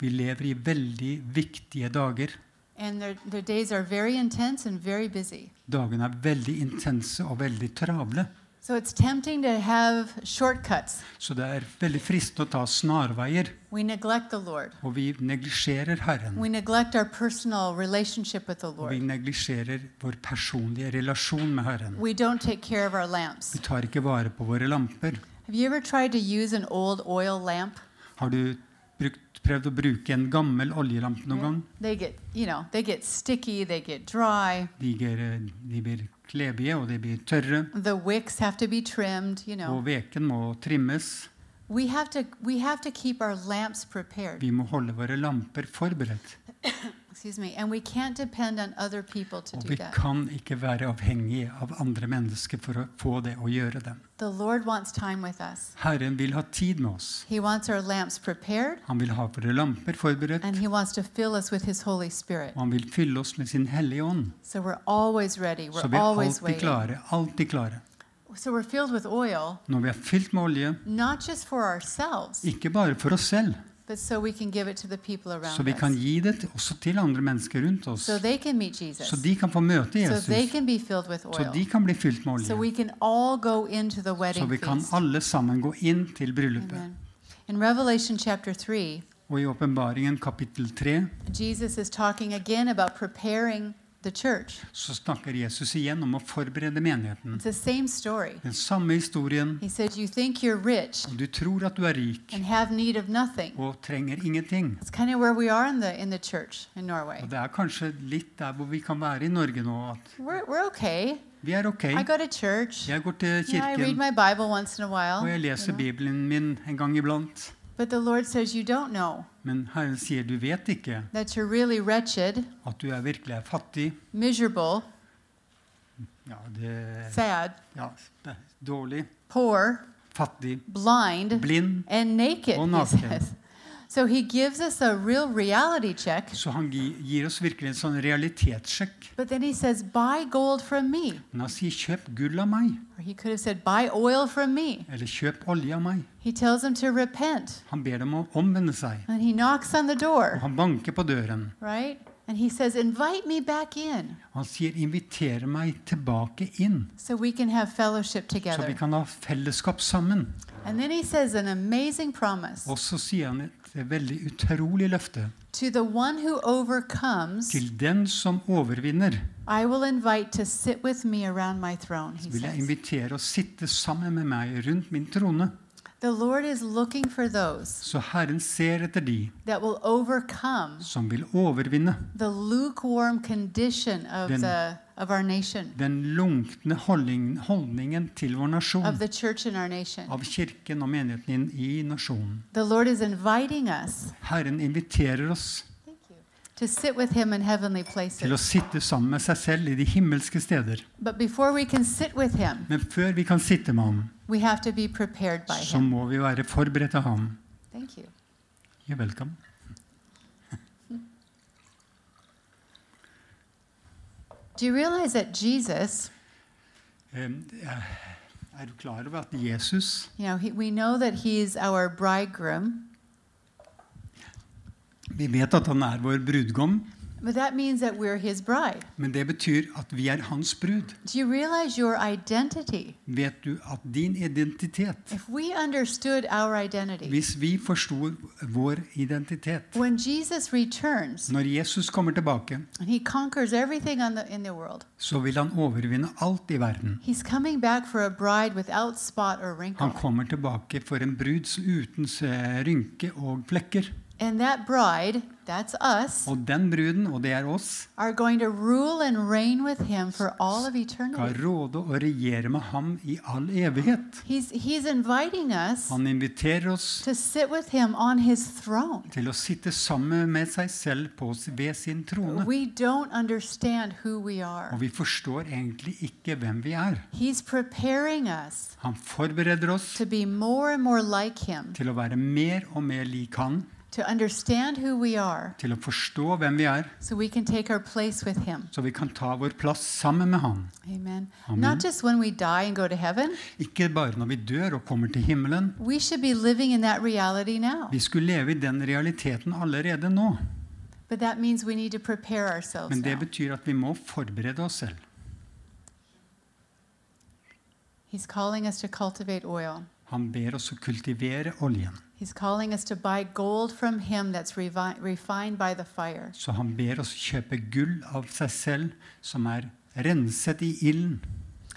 B: Vi lever i veldig viktige dager.
A: and their, their days are very intense and very busy.
B: Dagene er veldig intense og veldig travle.
A: So it's tempting to have shortcuts.
B: Så det er veldig fristende å ta snarveier.
A: We neglect the Lord,
B: Og vi neglisjerer Herren.
A: we neglect our personal relationship with the
B: Og vi
A: Lord,
B: neglisjerer vår personlige relasjon med Herren.
A: we don't take care of our
B: Vi
A: lamps.
B: tar ikke vare på våre lamper.
A: Have you ever tried to use an old oil lamp?
B: Har du brukt, prøvd å bruke en gammel oljelampe noen gang?
A: They get, you know, they get sticky, they get dry.
B: De, ger, de blir klebige, og de blir tørre.
A: the wicks have to be trimmed you know
B: Og veken må trimmes.
A: we have to we have to keep our lamps prepared
B: Vi må holde våre lamper forberedt.
A: excuse me and we can't depend on other people to
B: Og
A: do
B: vi
A: that
B: kan ikke være avhengige av andre mennesker for å få det og gjøre det.
A: the lord wants time with us
B: Herren vil ha tid med oss.
A: he wants our lamps prepared
B: Han vil ha våre lamper forberedt,
A: and he wants to fill us with his holy spirit
B: og han vil fylle oss med sin hellige ånd.
A: so we're always ready
B: Så
A: we're
B: vi er
A: always
B: alltid
A: waiting
B: klare. Alltid klare.
A: so we're filled with oil
B: Når vi er fylt med olje,
A: not just for ourselves
B: ikke bare for oss selv,
A: but so we can give it to the people
B: så
A: around
B: vi kan
A: us
B: gi det til- også til andre mennesker rundt oss.
A: so they can meet jesus
B: Så de kan få møte
A: so
B: Jesus,
A: they can be filled with
B: så
A: oil
B: de kan bli fylt med
A: so
B: olje.
A: we can all go into the
B: Så
A: wedding
B: vi kan
A: feast
B: alle sammen gå inn til bryllupet.
A: Amen. In Revelation chapter 3,
B: Og i åpenbaringen kapittel 3
A: Jesus is talking again about preparing the church.
B: så snakker Jesus igjen om å forberede menigheten.
A: It's the same story.
B: Den samme historien.
A: He says, You think you're rich
B: Og du tror at du er rik
A: and have need of nothing.
B: og trenger ingenting.
A: It's kind of where we are in the, in the church in Norway.
B: Og det er kanskje litt der hvor vi kan være i Norge nå, at
A: We're, we're okay.
B: vi er ok.
A: I go to church.
B: Jeg går til
A: You know, I read
B: kirken,
A: my Bible once in a while.
B: og jeg
A: you
B: leser
A: know.
B: Bibelen min en gang iblant.
A: But the Lord says, You don't know
B: Men Herren sier du vet ikke
A: that you're really wretched,
B: at du er virkelig er fattig.
A: miserable,
B: Ja, det
A: sad,
B: ja, det er dårlig.
A: poor,
B: Fattig.
A: blind,
B: Blind.
A: and naked,
B: Og
A: he
B: naken.
A: says. So he gives us a real reality check,
B: Så han gi, gir oss virkelig en sånn realitetssjekk.
A: but then he says, buy gold from me.
B: Men han sier 'kjøp gull av meg',
A: Or he could have said, buy oil from me.
B: eller 'kjøp olje av meg'.
A: He tells him to repent,
B: Han ber dem å omvende seg,
A: and he knocks on the
B: og
A: door,
B: han banker på døren.
A: right? And he says, invite me back in
B: Han sier 'inviter meg tilbake inn',
A: so we can have fellowship
B: så vi
A: together.
B: kan ha fellesskap sammen.
A: And then he says an amazing promise
B: Og så sier han et veldig utrolig løfte.
A: to the one who overcomes,
B: Til den som overvinner,
A: I will invite to sit with me around my throne, he
B: vil jeg
A: says.
B: invitere å sitte sammen med meg rundt min trone.
A: The Lord is looking for those
B: Så Herren ser etter de
A: that will overcome
B: som vil overvinne
A: the lukewarm condition of
B: Den-
A: the of our nation,
B: Den lunkne holdning, holdningen til vår
A: of
B: nasjon,
A: the church in our nation.
B: av kirken og menigheten i i nasjonen.
A: The Lord is inviting us
B: Herren inviterer oss
A: to sit with Him in heavenly
B: til å
A: places.
B: sitte sammen med seg selv i de himmelske steder.
A: But before we can sit with Him,
B: Men før vi kan sitte med ham,
A: we have to be prepared by
B: så
A: Him.
B: må vi være forberedt av ham.
A: Thank you.
B: You're welcome.
A: Do you realize that Jesus,
B: Eh, Er du klar over at Jesus
A: you know, he, we know that He's our bridegroom,
B: Vi vet at han er vår brudgom,
A: but that means that we're His bride.
B: men det betyr at vi er hans brud.
A: Do you realize your identity?
B: Vet du at din identitet
A: If we understood our identity,
B: Hvis vi forsto vår identitet
A: when Jesus returns
B: Når Jesus kommer tilbake,
A: and He conquers everything on the, in the world,
B: så vil han overvinne alt i verden.
A: He's coming back for a bride without spot or
B: Han
A: wrinkle.
B: kommer tilbake for en brud som- uten eh, rynke og flekker.
A: And that bride, that's us,
B: Og den bruden, og det er oss,
A: are going to rule and reign with him for all of
B: skal
A: eternity.
B: råde og regjere med ham i all evighet.
A: He's, he's inviting us
B: Han inviterer oss
A: to sit with him on his throne.
B: til å sitte sammen med seg selv på, ved sin trone.
A: We don't understand who we
B: Og
A: are.
B: vi forstår egentlig ikke hvem vi er.
A: He's preparing us
B: Han forbereder oss
A: to be more and more like him,
B: til å være mer og mer lik han,
A: to understand who we are,
B: til å forstå hvem vi er,
A: so we can take our place with him.
B: så vi kan ta vår plass sammen med han.
A: Amen.
B: Amen.
A: Not just when we die and go to heaven,
B: Ikke bare når vi dør og kommer til himmelen.
A: we should be living in that reality now.
B: Vi skulle leve i den realiteten allerede nå.
A: But that means we need to prepare ourselves.
B: Men det
A: now.
B: betyr at vi må forberede oss selv.
A: He's calling us to cultivate oil.
B: Han ber oss å kultivere oljen.
A: He's calling us to buy gold from him that's revi- refined by the fire.
B: Så han ber oss kjøpe gull av seg selv som er renset i ilden.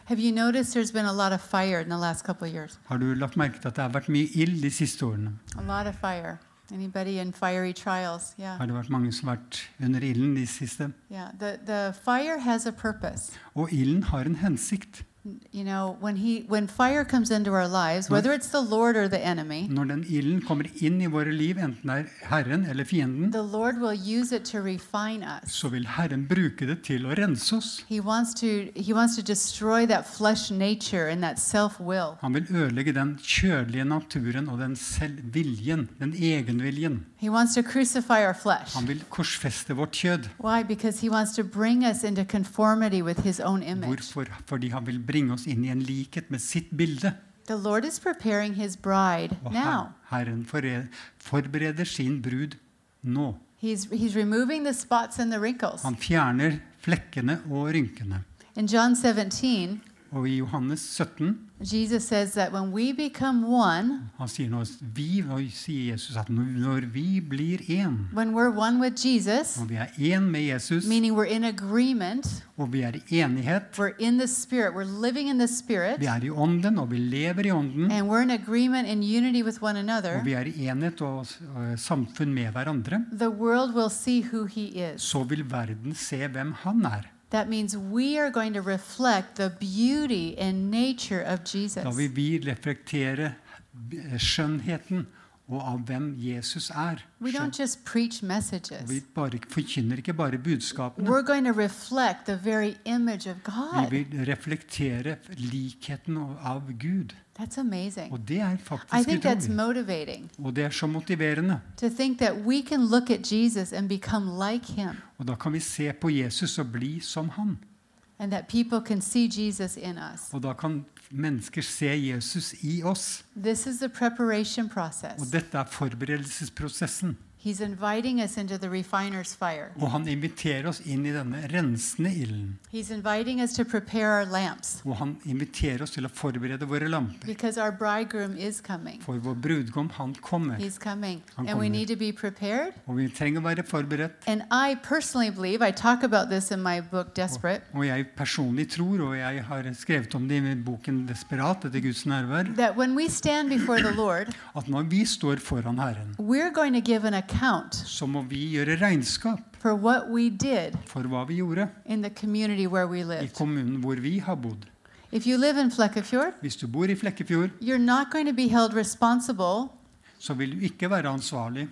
A: Have you noticed there's been a lot of fire in the last couple of years?
B: Har du lagt merke til at det har vært mye ild de siste årene?
A: A lot of fire. Anybody in fiery trials? Yeah.
B: Har det vært mange som har vært under ilden de siste?
A: Yeah. The the fire has a purpose.
B: Og ilden har en hensikt.
A: You know, when he when fire comes into our lives, whether it's the Lord or the enemy,
B: Når den ilden kommer inn i våre liv, enten det er Herren eller fienden,
A: the Lord will use it to refine us.
B: så vil Herren bruke det til å rense oss.
A: He wants to he wants to destroy that flesh nature and that self-will.
B: Han vil ødelegge den kjødelige naturen og den selvviljen, den egenviljen.
A: He wants to crucify our flesh.
B: Han vil korsfeste vårt kjød.
A: Why? Because he wants to bring us into conformity with his own image.
B: Hvorfor? Fordi han vil bringe oss inn i en likhet med sitt bilde.
A: The Lord is preparing his bride
B: Og her,
A: now.
B: Herren forre- forbereder sin brud nå.
A: He's, he's removing the spots and the wrinkles.
B: Han fjerner flekkene og rynkene.
A: In John 17,
B: Og i Johannes 17
A: Jesus says that when we become one,
B: han sier nå, vi, nå sier Jesus at når- når vi blir én,
A: when we're one with Jesus,
B: når vi er én med Jesus,
A: meaning we're in agreement,
B: og vi er i enighet,
A: we're in the Spirit, we're living in the Spirit,
B: vi er i ånden, og vi lever i ånden,
A: and we're in agreement in unity with one
B: og
A: another,
B: vi er i enhet og, og samfunn med hverandre,
A: the world will see who he is.
B: så vil verden se hvem han er.
A: That means we are going to reflect the beauty and nature of
B: Da
A: Jesus.
B: vil vi reflektere eh, skjønnheten og av hvem Jesus er.
A: We don't
B: Skjønn-
A: just preach
B: Og vi
A: messages.
B: bare, forkynner ikke bare budskapene.
A: We're going to reflect the very image of
B: Vi
A: God.
B: vil reflektere likheten og- av Gud.
A: That's amazing.
B: Og det er
A: I
B: faktisk
A: think that's
B: utrolig.
A: motivating
B: Og det er så motiverende.
A: to think that we can look at Jesus and become like him
B: Og da kan vi se på Jesus og bli som han.
A: and that people can see Jesus in us.
B: Og da kan mennesker se Jesus i oss.
A: This is the preparation
B: Og
A: process.
B: dette er forberedelsesprosessen.
A: He's inviting us into the refiner's fire.
B: Og han inviterer oss inn i denne rensende ilden.
A: He's inviting us to prepare our lamps
B: Og han inviterer oss til å forberede våre lamper.
A: because our bridegroom is coming.
B: For vår brudgom, han kommer.
A: He's coming.
B: Han
A: And we
B: kommer.
A: need to be prepared.
B: Og vi trenger å være forberedt.
A: And I personally believe, I talk about this in my book, Desperate.
B: Og jeg personlig tror, og jeg har skrevet om det i boken 'Desperat etter Guds nærvær',
A: that when we stand before the Lord,
B: at når vi står foran Herren,
A: we're going to give an account
B: så må vi gjøre regnskap
A: for what we did
B: for hva vi gjorde
A: in the community where we
B: i
A: lived.
B: kommunen hvor vi har bodd.
A: If you live in Flekkefjord,
B: Hvis du bor i Flekkefjord,
A: you're not going to be held responsible
B: så vil du ikke være ansvarlig.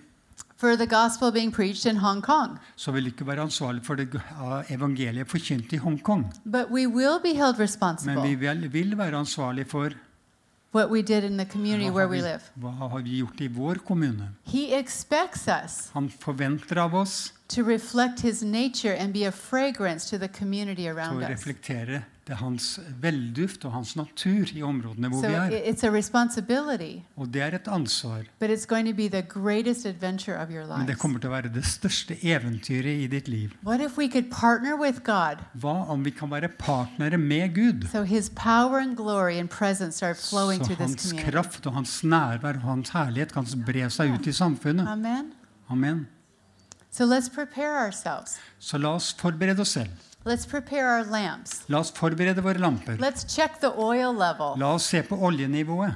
A: for the gospel being preached in Hong Kong,
B: Så vil du ikke være ansvarlig for det g- av evangeliet forkynt i Hongkong.
A: but we will be held
B: Men
A: responsible
B: vi vel, vil være ansvarlig for
A: what we did in the community
B: hva
A: where
B: har, vi,
A: we live.
B: hva har vi gjort i vår kommune.
A: He expects us
B: Han forventer av oss
A: to reflect his nature and be a fragrance to the community
B: til
A: around
B: å
A: us.
B: reflektere det hans velduft og hans natur i områdene hvor
A: So
B: vi
A: i-
B: er.
A: it's a responsibility,
B: Og det er et ansvar.
A: but it's going to be the greatest adventure of your
B: Men det
A: life.
B: kommer til å være det største eventyret i ditt liv.
A: What if we could partner with God
B: Hva om vi kan være partnere med Gud?
A: so his power and glory and presence start
B: Så
A: flowing through this
B: hans
A: community?
B: kraft og hans nærvær og hans herlighet kan bre seg ut i samfunnet.
A: Amen.
B: Amen.
A: So let's prepare ourselves.
B: Så la oss forberede oss selv.
A: Let's prepare our lamps.
B: La oss forberede våre lamper.
A: Let's check the oil level.
B: La oss se på oljenivået.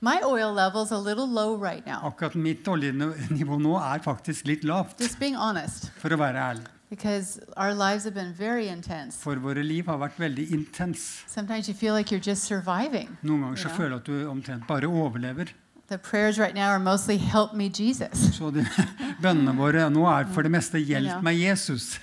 A: My oil level's a little low right now.
B: Akkurat mitt oljenivå nå er faktisk litt lavt,
A: Just being honest,
B: for å være ærlig.
A: because our lives have been very intense.
B: For våre liv har vært veldig intens.
A: Sometimes you feel like you're just surviving.
B: Noen ganger så
A: Ja.
B: føler du at du omtrent bare overlever.
A: The prayers right now are mostly help me, Jesus.
B: Så de, bønnene våre nå er for det meste 'Hjelp
A: Ja.
B: meg, Jesus'.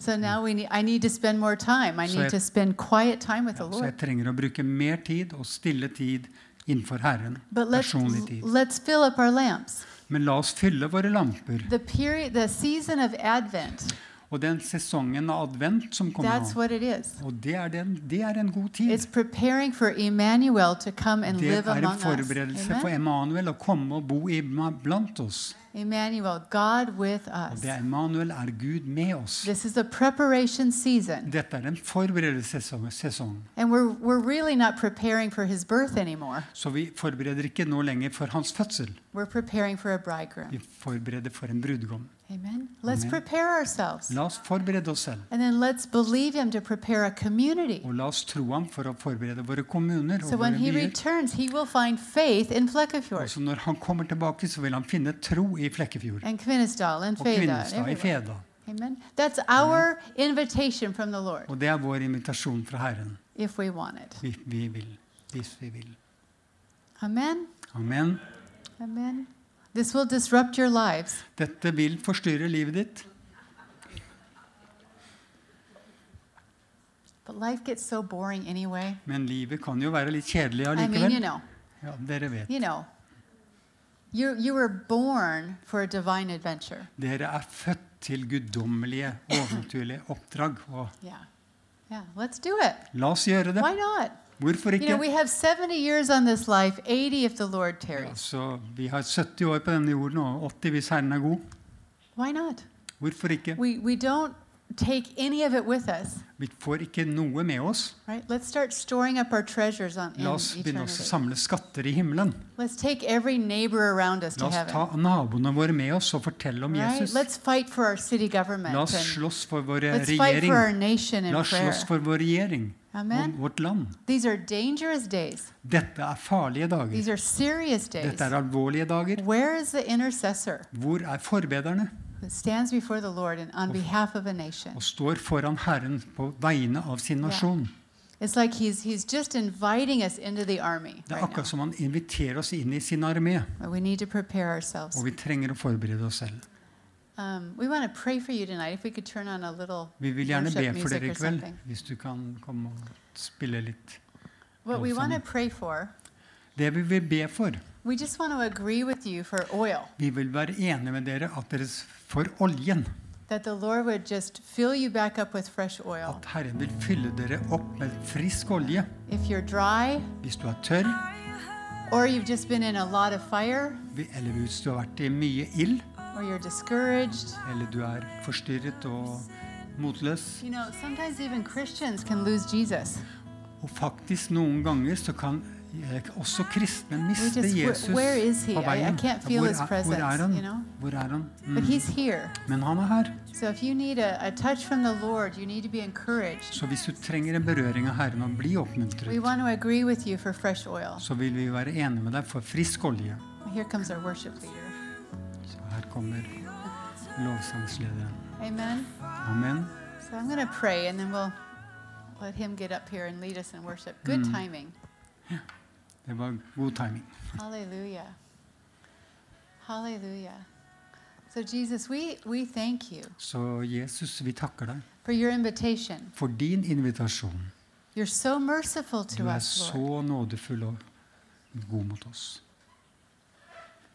A: So
B: Mm.
A: now we need, I need to spend more time. I
B: Så
A: need
B: jeg-
A: to spend quiet time with the
B: Så jeg
A: Lord.
B: trenger å bruke mer tid og stille tid innenfor Herren.
A: But let's,
B: Personlig tid.
A: let's fill up our lamps.
B: Men la oss fylle våre lamper.
A: The period, the season of Advent,
B: Og den sesongen av advent som kommer
A: that's
B: nå,
A: what it is.
B: og det er, den, det er en god tid.
A: It's preparing for Emmanuel to come and
B: Det
A: live
B: er en
A: among us.
B: forberedelse for
A: Amen?
B: Emanuel å komme og bo i- blant oss.
A: Emmanuel, God with
B: Og
A: us.
B: det er Emanuel er Gud med oss.
A: This is a preparation season.
B: Dette er en forberedelsessesong. sesong.
A: And we're, we're really not preparing for his birth anymore.
B: Så vi forbereder ikke nå lenger for hans fødsel.
A: We're preparing for a bridegroom.
B: Vi forbereder for en brudgom.
A: Amen. Let's
B: Amen.
A: prepare ourselves.
B: La oss forberede oss selv.
A: And then let's believe him to prepare a community.
B: Og la oss tro ham for å forberede våre kommuner og
A: So when
B: våre
A: he
B: byer.
A: returns, he will find faith in Flekkefjord
B: Også når han kommer tilbake, så vil han finne tro i Flekkefjord.
A: and Kvinesdal and
B: Og
A: Feda.
B: Kvinesdal i
A: and everywhere.
B: Feda.
A: Amen. That's our invitation from the Lord,
B: Og det er vår invitasjon fra Herren.
A: if we want it.
B: Vi, vi vil. Hvis vi vil.
A: Amen.
B: Amen.
A: Amen. This will disrupt your lives.
B: Dette vil forstyrre livet ditt,
A: But life gets so boring anyway.
B: men livet kan jo være litt kjedelig
A: I mean, you
B: allikevel.
A: know,
B: Ja, dere vet.
A: you know, you you were born for a divine adventure.
B: Dere er født til guddommelige, overnaturlige oppdrag. Og
A: Yeah, yeah. Let's do it.
B: la oss gjøre det.
A: Why not?
B: Hvorfor
A: You know,
B: ikke?
A: we have 70 years on this life, 80 if the Lord tarries.
B: Altså, vi har 70 år på denne jorden, og 80 hvis Herren er god.
A: Why not?
B: Hvorfor ikke?
A: We we don't take any of it with us,
B: Vi får ikke noe med oss.
A: right? Let's start storing up our treasures on in
B: La oss begynne å
A: eternity.
B: samle skatter i himmelen.
A: Let's take every neighbor around us
B: La
A: to
B: oss
A: heaven.
B: ta naboene våre med oss og fortelle om
A: Right?
B: Jesus.
A: Let's fight for our city government.
B: La oss
A: And
B: slåss for vår
A: let's fight for our
B: regjering.
A: nation
B: La
A: in
B: oss
A: prayer.
B: slåss for vår regjering
A: Amen.
B: og vårt land.
A: These are dangerous days.
B: Dette er farlige dager.
A: These are serious days.
B: Dette er alvorlige dager.
A: Where is the intercessor
B: Hvor er forbederne?
A: that stands before the Lord and on behalf of a nation?
B: Og står foran Herren på vegne av sin
A: Ja.
B: nasjon.
A: It's like he's, he's just inviting us into the army
B: Det er
A: right
B: akkurat som han inviterer oss inn i sin armé.
A: now. We need to prepare ourselves.
B: Og vi trenger å forberede oss selv.
A: Um, we want to pray for you tonight. If we could turn on a little
B: Vi vil gjerne be
A: worship music
B: for dere
A: or
B: i kveld,
A: something.
B: hvis du kan komme og spille litt.
A: What we want to
B: Lovsang.
A: pray for,
B: Det vi vil be for
A: we just want to agree with you for oil,
B: Vi vil være enige med dere at dere s- for oljen.
A: that the Lord would just fill you back up with fresh oil.
B: At Herren vil fylle dere opp med frisk olje.
A: If you're dry
B: Hvis du er tørr,
A: or you've just been in a lot of fire
B: vi- eller hvis du har vært i mye ild,
A: or you're discouraged,
B: eller du er forstyrret og motløs
A: you know, sometimes even Christians can lose Jesus.
B: Og faktisk noen ganger så kan eh, også kristne miste
A: just- where-
B: Jesus
A: where is he?
B: på
A: I- I
B: veien.
A: can't feel
B: hvor,
A: his
B: er, hvor
A: presence,
B: er han?
A: you know?
B: Hvor er han?
A: But
B: Mm.
A: he's here.
B: Men han er her.
A: So if you need a, a touch from the Lord, you need to be encouraged.
B: Så hvis du trenger en berøring av Herren og blir
A: We
B: oppmuntret,
A: want to agree with you for fresh oil.
B: så vil vi være enige med deg for frisk olje.
A: Here comes our worship leader.
B: Så her kommer lovsangslederen.
A: Amen.
B: Amen.
A: So I'm going to pray and then we'll let him get up here and lead us in worship. Good timing.
B: Det var god timing.
A: Hallelujah. Hallelujah. So, Jesus, we, we thank you
B: Så Jesus, vi takker deg
A: for your invitation.
B: for din invitasjon.
A: You're so merciful
B: Du
A: to
B: er
A: us, Lord.
B: så nådefull og god mot oss.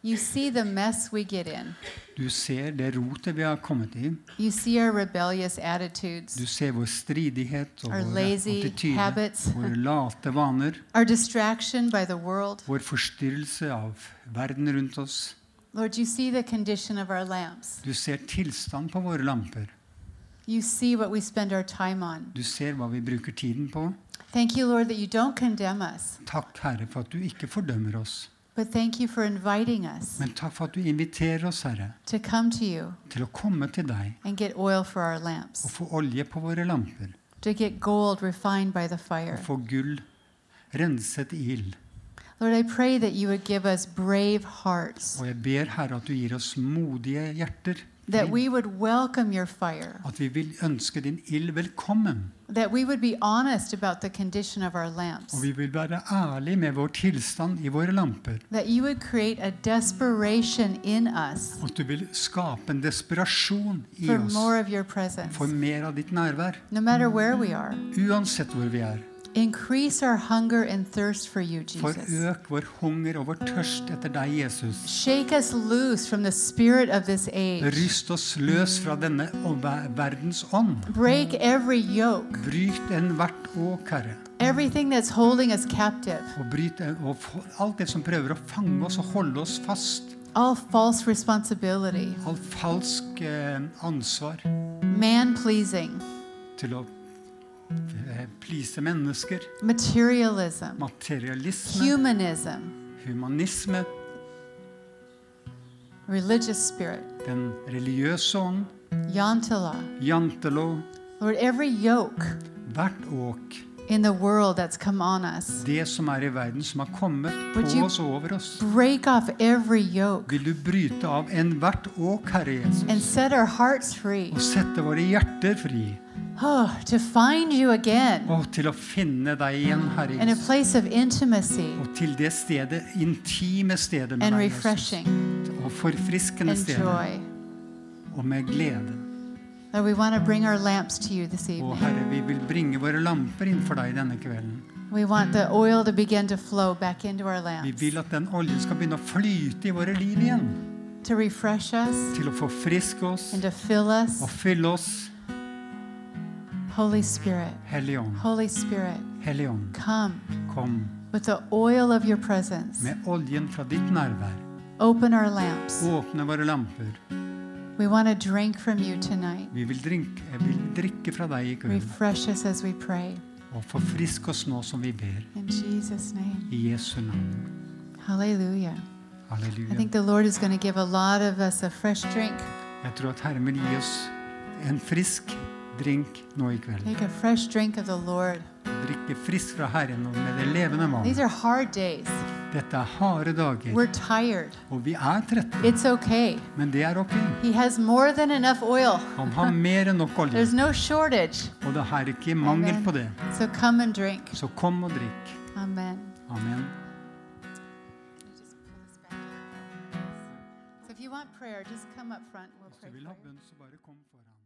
A: You see the mess we get in,
B: Du ser det rotet vi har kommet i.
A: you see our rebellious
B: Du
A: attitudes,
B: ser vår stridighet og
A: Our
B: våre
A: lazy
B: attityder,
A: habits.
B: våre late vaner,
A: our distraction by the world.
B: vår forstyrrelse av verden rundt oss.
A: Lord, you see the condition of our lamps.
B: Du ser tilstanden på våre lamper.
A: You see what we spend our time on.
B: Du ser hva vi bruker tiden på.
A: Thank you, Lord, that you don't condemn us,
B: Takk, Herre, for at du ikke fordømmer oss.
A: but thank you for inviting us
B: Men takk for at du inviterer oss, Herre,
A: to come to you
B: til å komme til deg
A: and get oil for our
B: og
A: lamps,
B: få olje på våre lamper.
A: to get gold refined by the fire.
B: Og få gull renset i ild.
A: Lord, I pray that you would give us brave hearts,
B: Og jeg ber, Herre, at du gir oss modige hjerter.
A: that we would welcome your fire,
B: At vi vil ønske din ild velkommen.
A: that we would be honest about the condition of our
B: Og
A: lamps,
B: vi vil være ærlige med vår tilstand i våre lamper.
A: that you would create a desperation in us
B: Og at du vil skape en desperasjon i
A: for
B: oss
A: more of your presence,
B: for mer av ditt nærvær.
A: no matter where we are.
B: Uansett hvor vi er.
A: Increase our hunger and thirst for you, Jesus.
B: Forøk vår hunger og vår tørst etter deg, Jesus.
A: Shake us loose from the spirit of this age.
B: Ryst oss løs fra denne og- ver- verdens ånd.
A: Break every yoke,
B: Bryt enhvert åk, Herre.
A: everything that's holding us captive,
B: Og bryt en- og få- alt det som prøver å fange oss og holde oss fast.
A: all false responsibility,
B: All falsk eh, ansvar
A: man pleasing,
B: til å eh, please mennesker.
A: materialism,
B: Materialisme,
A: humanism,
B: humanisme,
A: religious spirit,
B: den religiøse ånd,
A: yantala.
B: jantelov,
A: Lord, every yoke
B: hvert åk.
A: in the world that's come on us,
B: Det som er i verden, som har kommet
A: Would
B: på
A: you-
B: oss og over oss.
A: break off every yoke
B: Vil du bryte av enhvert åk, Herre
A: and
B: Jesus,
A: set our hearts free
B: og sette våre hjerter fri,
A: oh, to find you again.
B: og til å finne deg igjen, Herre
A: in a
B: Jesus,
A: place of intimacy
B: og til det stedet, intime stedet med
A: and
B: deg, Jesus,
A: refreshing
B: og forfriskende
A: and
B: stedet,
A: joy.
B: og med glede.
A: Lord, we want to bring our lamps to you this
B: Og
A: evening.
B: Herre, vi vil bringe våre lamper innenfor deg denne kvelden.
A: We want the oil to begin to flow back into our
B: Vi
A: lamps
B: vil at den oljen skal begynne å flyte i våre liv igjen,
A: to refresh us
B: til å forfriske oss
A: and to fill
B: og
A: us.
B: fylle oss,
A: Holy Spirit,
B: Hellig Ånd.
A: Holy Spirit,
B: Hellig Ånd,
A: come
B: kom
A: with the oil of your presence.
B: med oljen fra ditt nærvær.
A: Open our lamps.
B: Åpne våre lamper.
A: We want to drink from you tonight.
B: Vi vil, drink, jeg vil drikke fra deg i kveld
A: Refresh us as we pray.
B: og forfrisk oss nå som vi ber.
A: In Jesus' name.
B: I Jesu navn.
A: Hallelujah. I
B: Halleluja.
A: think the Lord is going to give a lot of us a fresh drink.
B: Jeg tror at Herren vil gi oss en frisk drink nå i kveld.
A: Take a fresh drink of the Lord.
B: Drikke frisk fra Herren og med det levende
A: These
B: vann.
A: are hard days.
B: Dette er harde dager,
A: We're tired.
B: og vi er trette,
A: It's okay.
B: men det er ok.
A: He has more than enough oil.
B: Han har mer enn nok olje,
A: There's no shortage.
B: og det er ikke mangel på det.
A: So come and drink.
B: Så kom og drikk.
A: Amen.
B: Amen.
A: So if you want prayer, just come up front. We'll
B: Hvis
A: pray
B: du
A: for
B: vil ha
A: you.
B: bønn, så bare kom foran.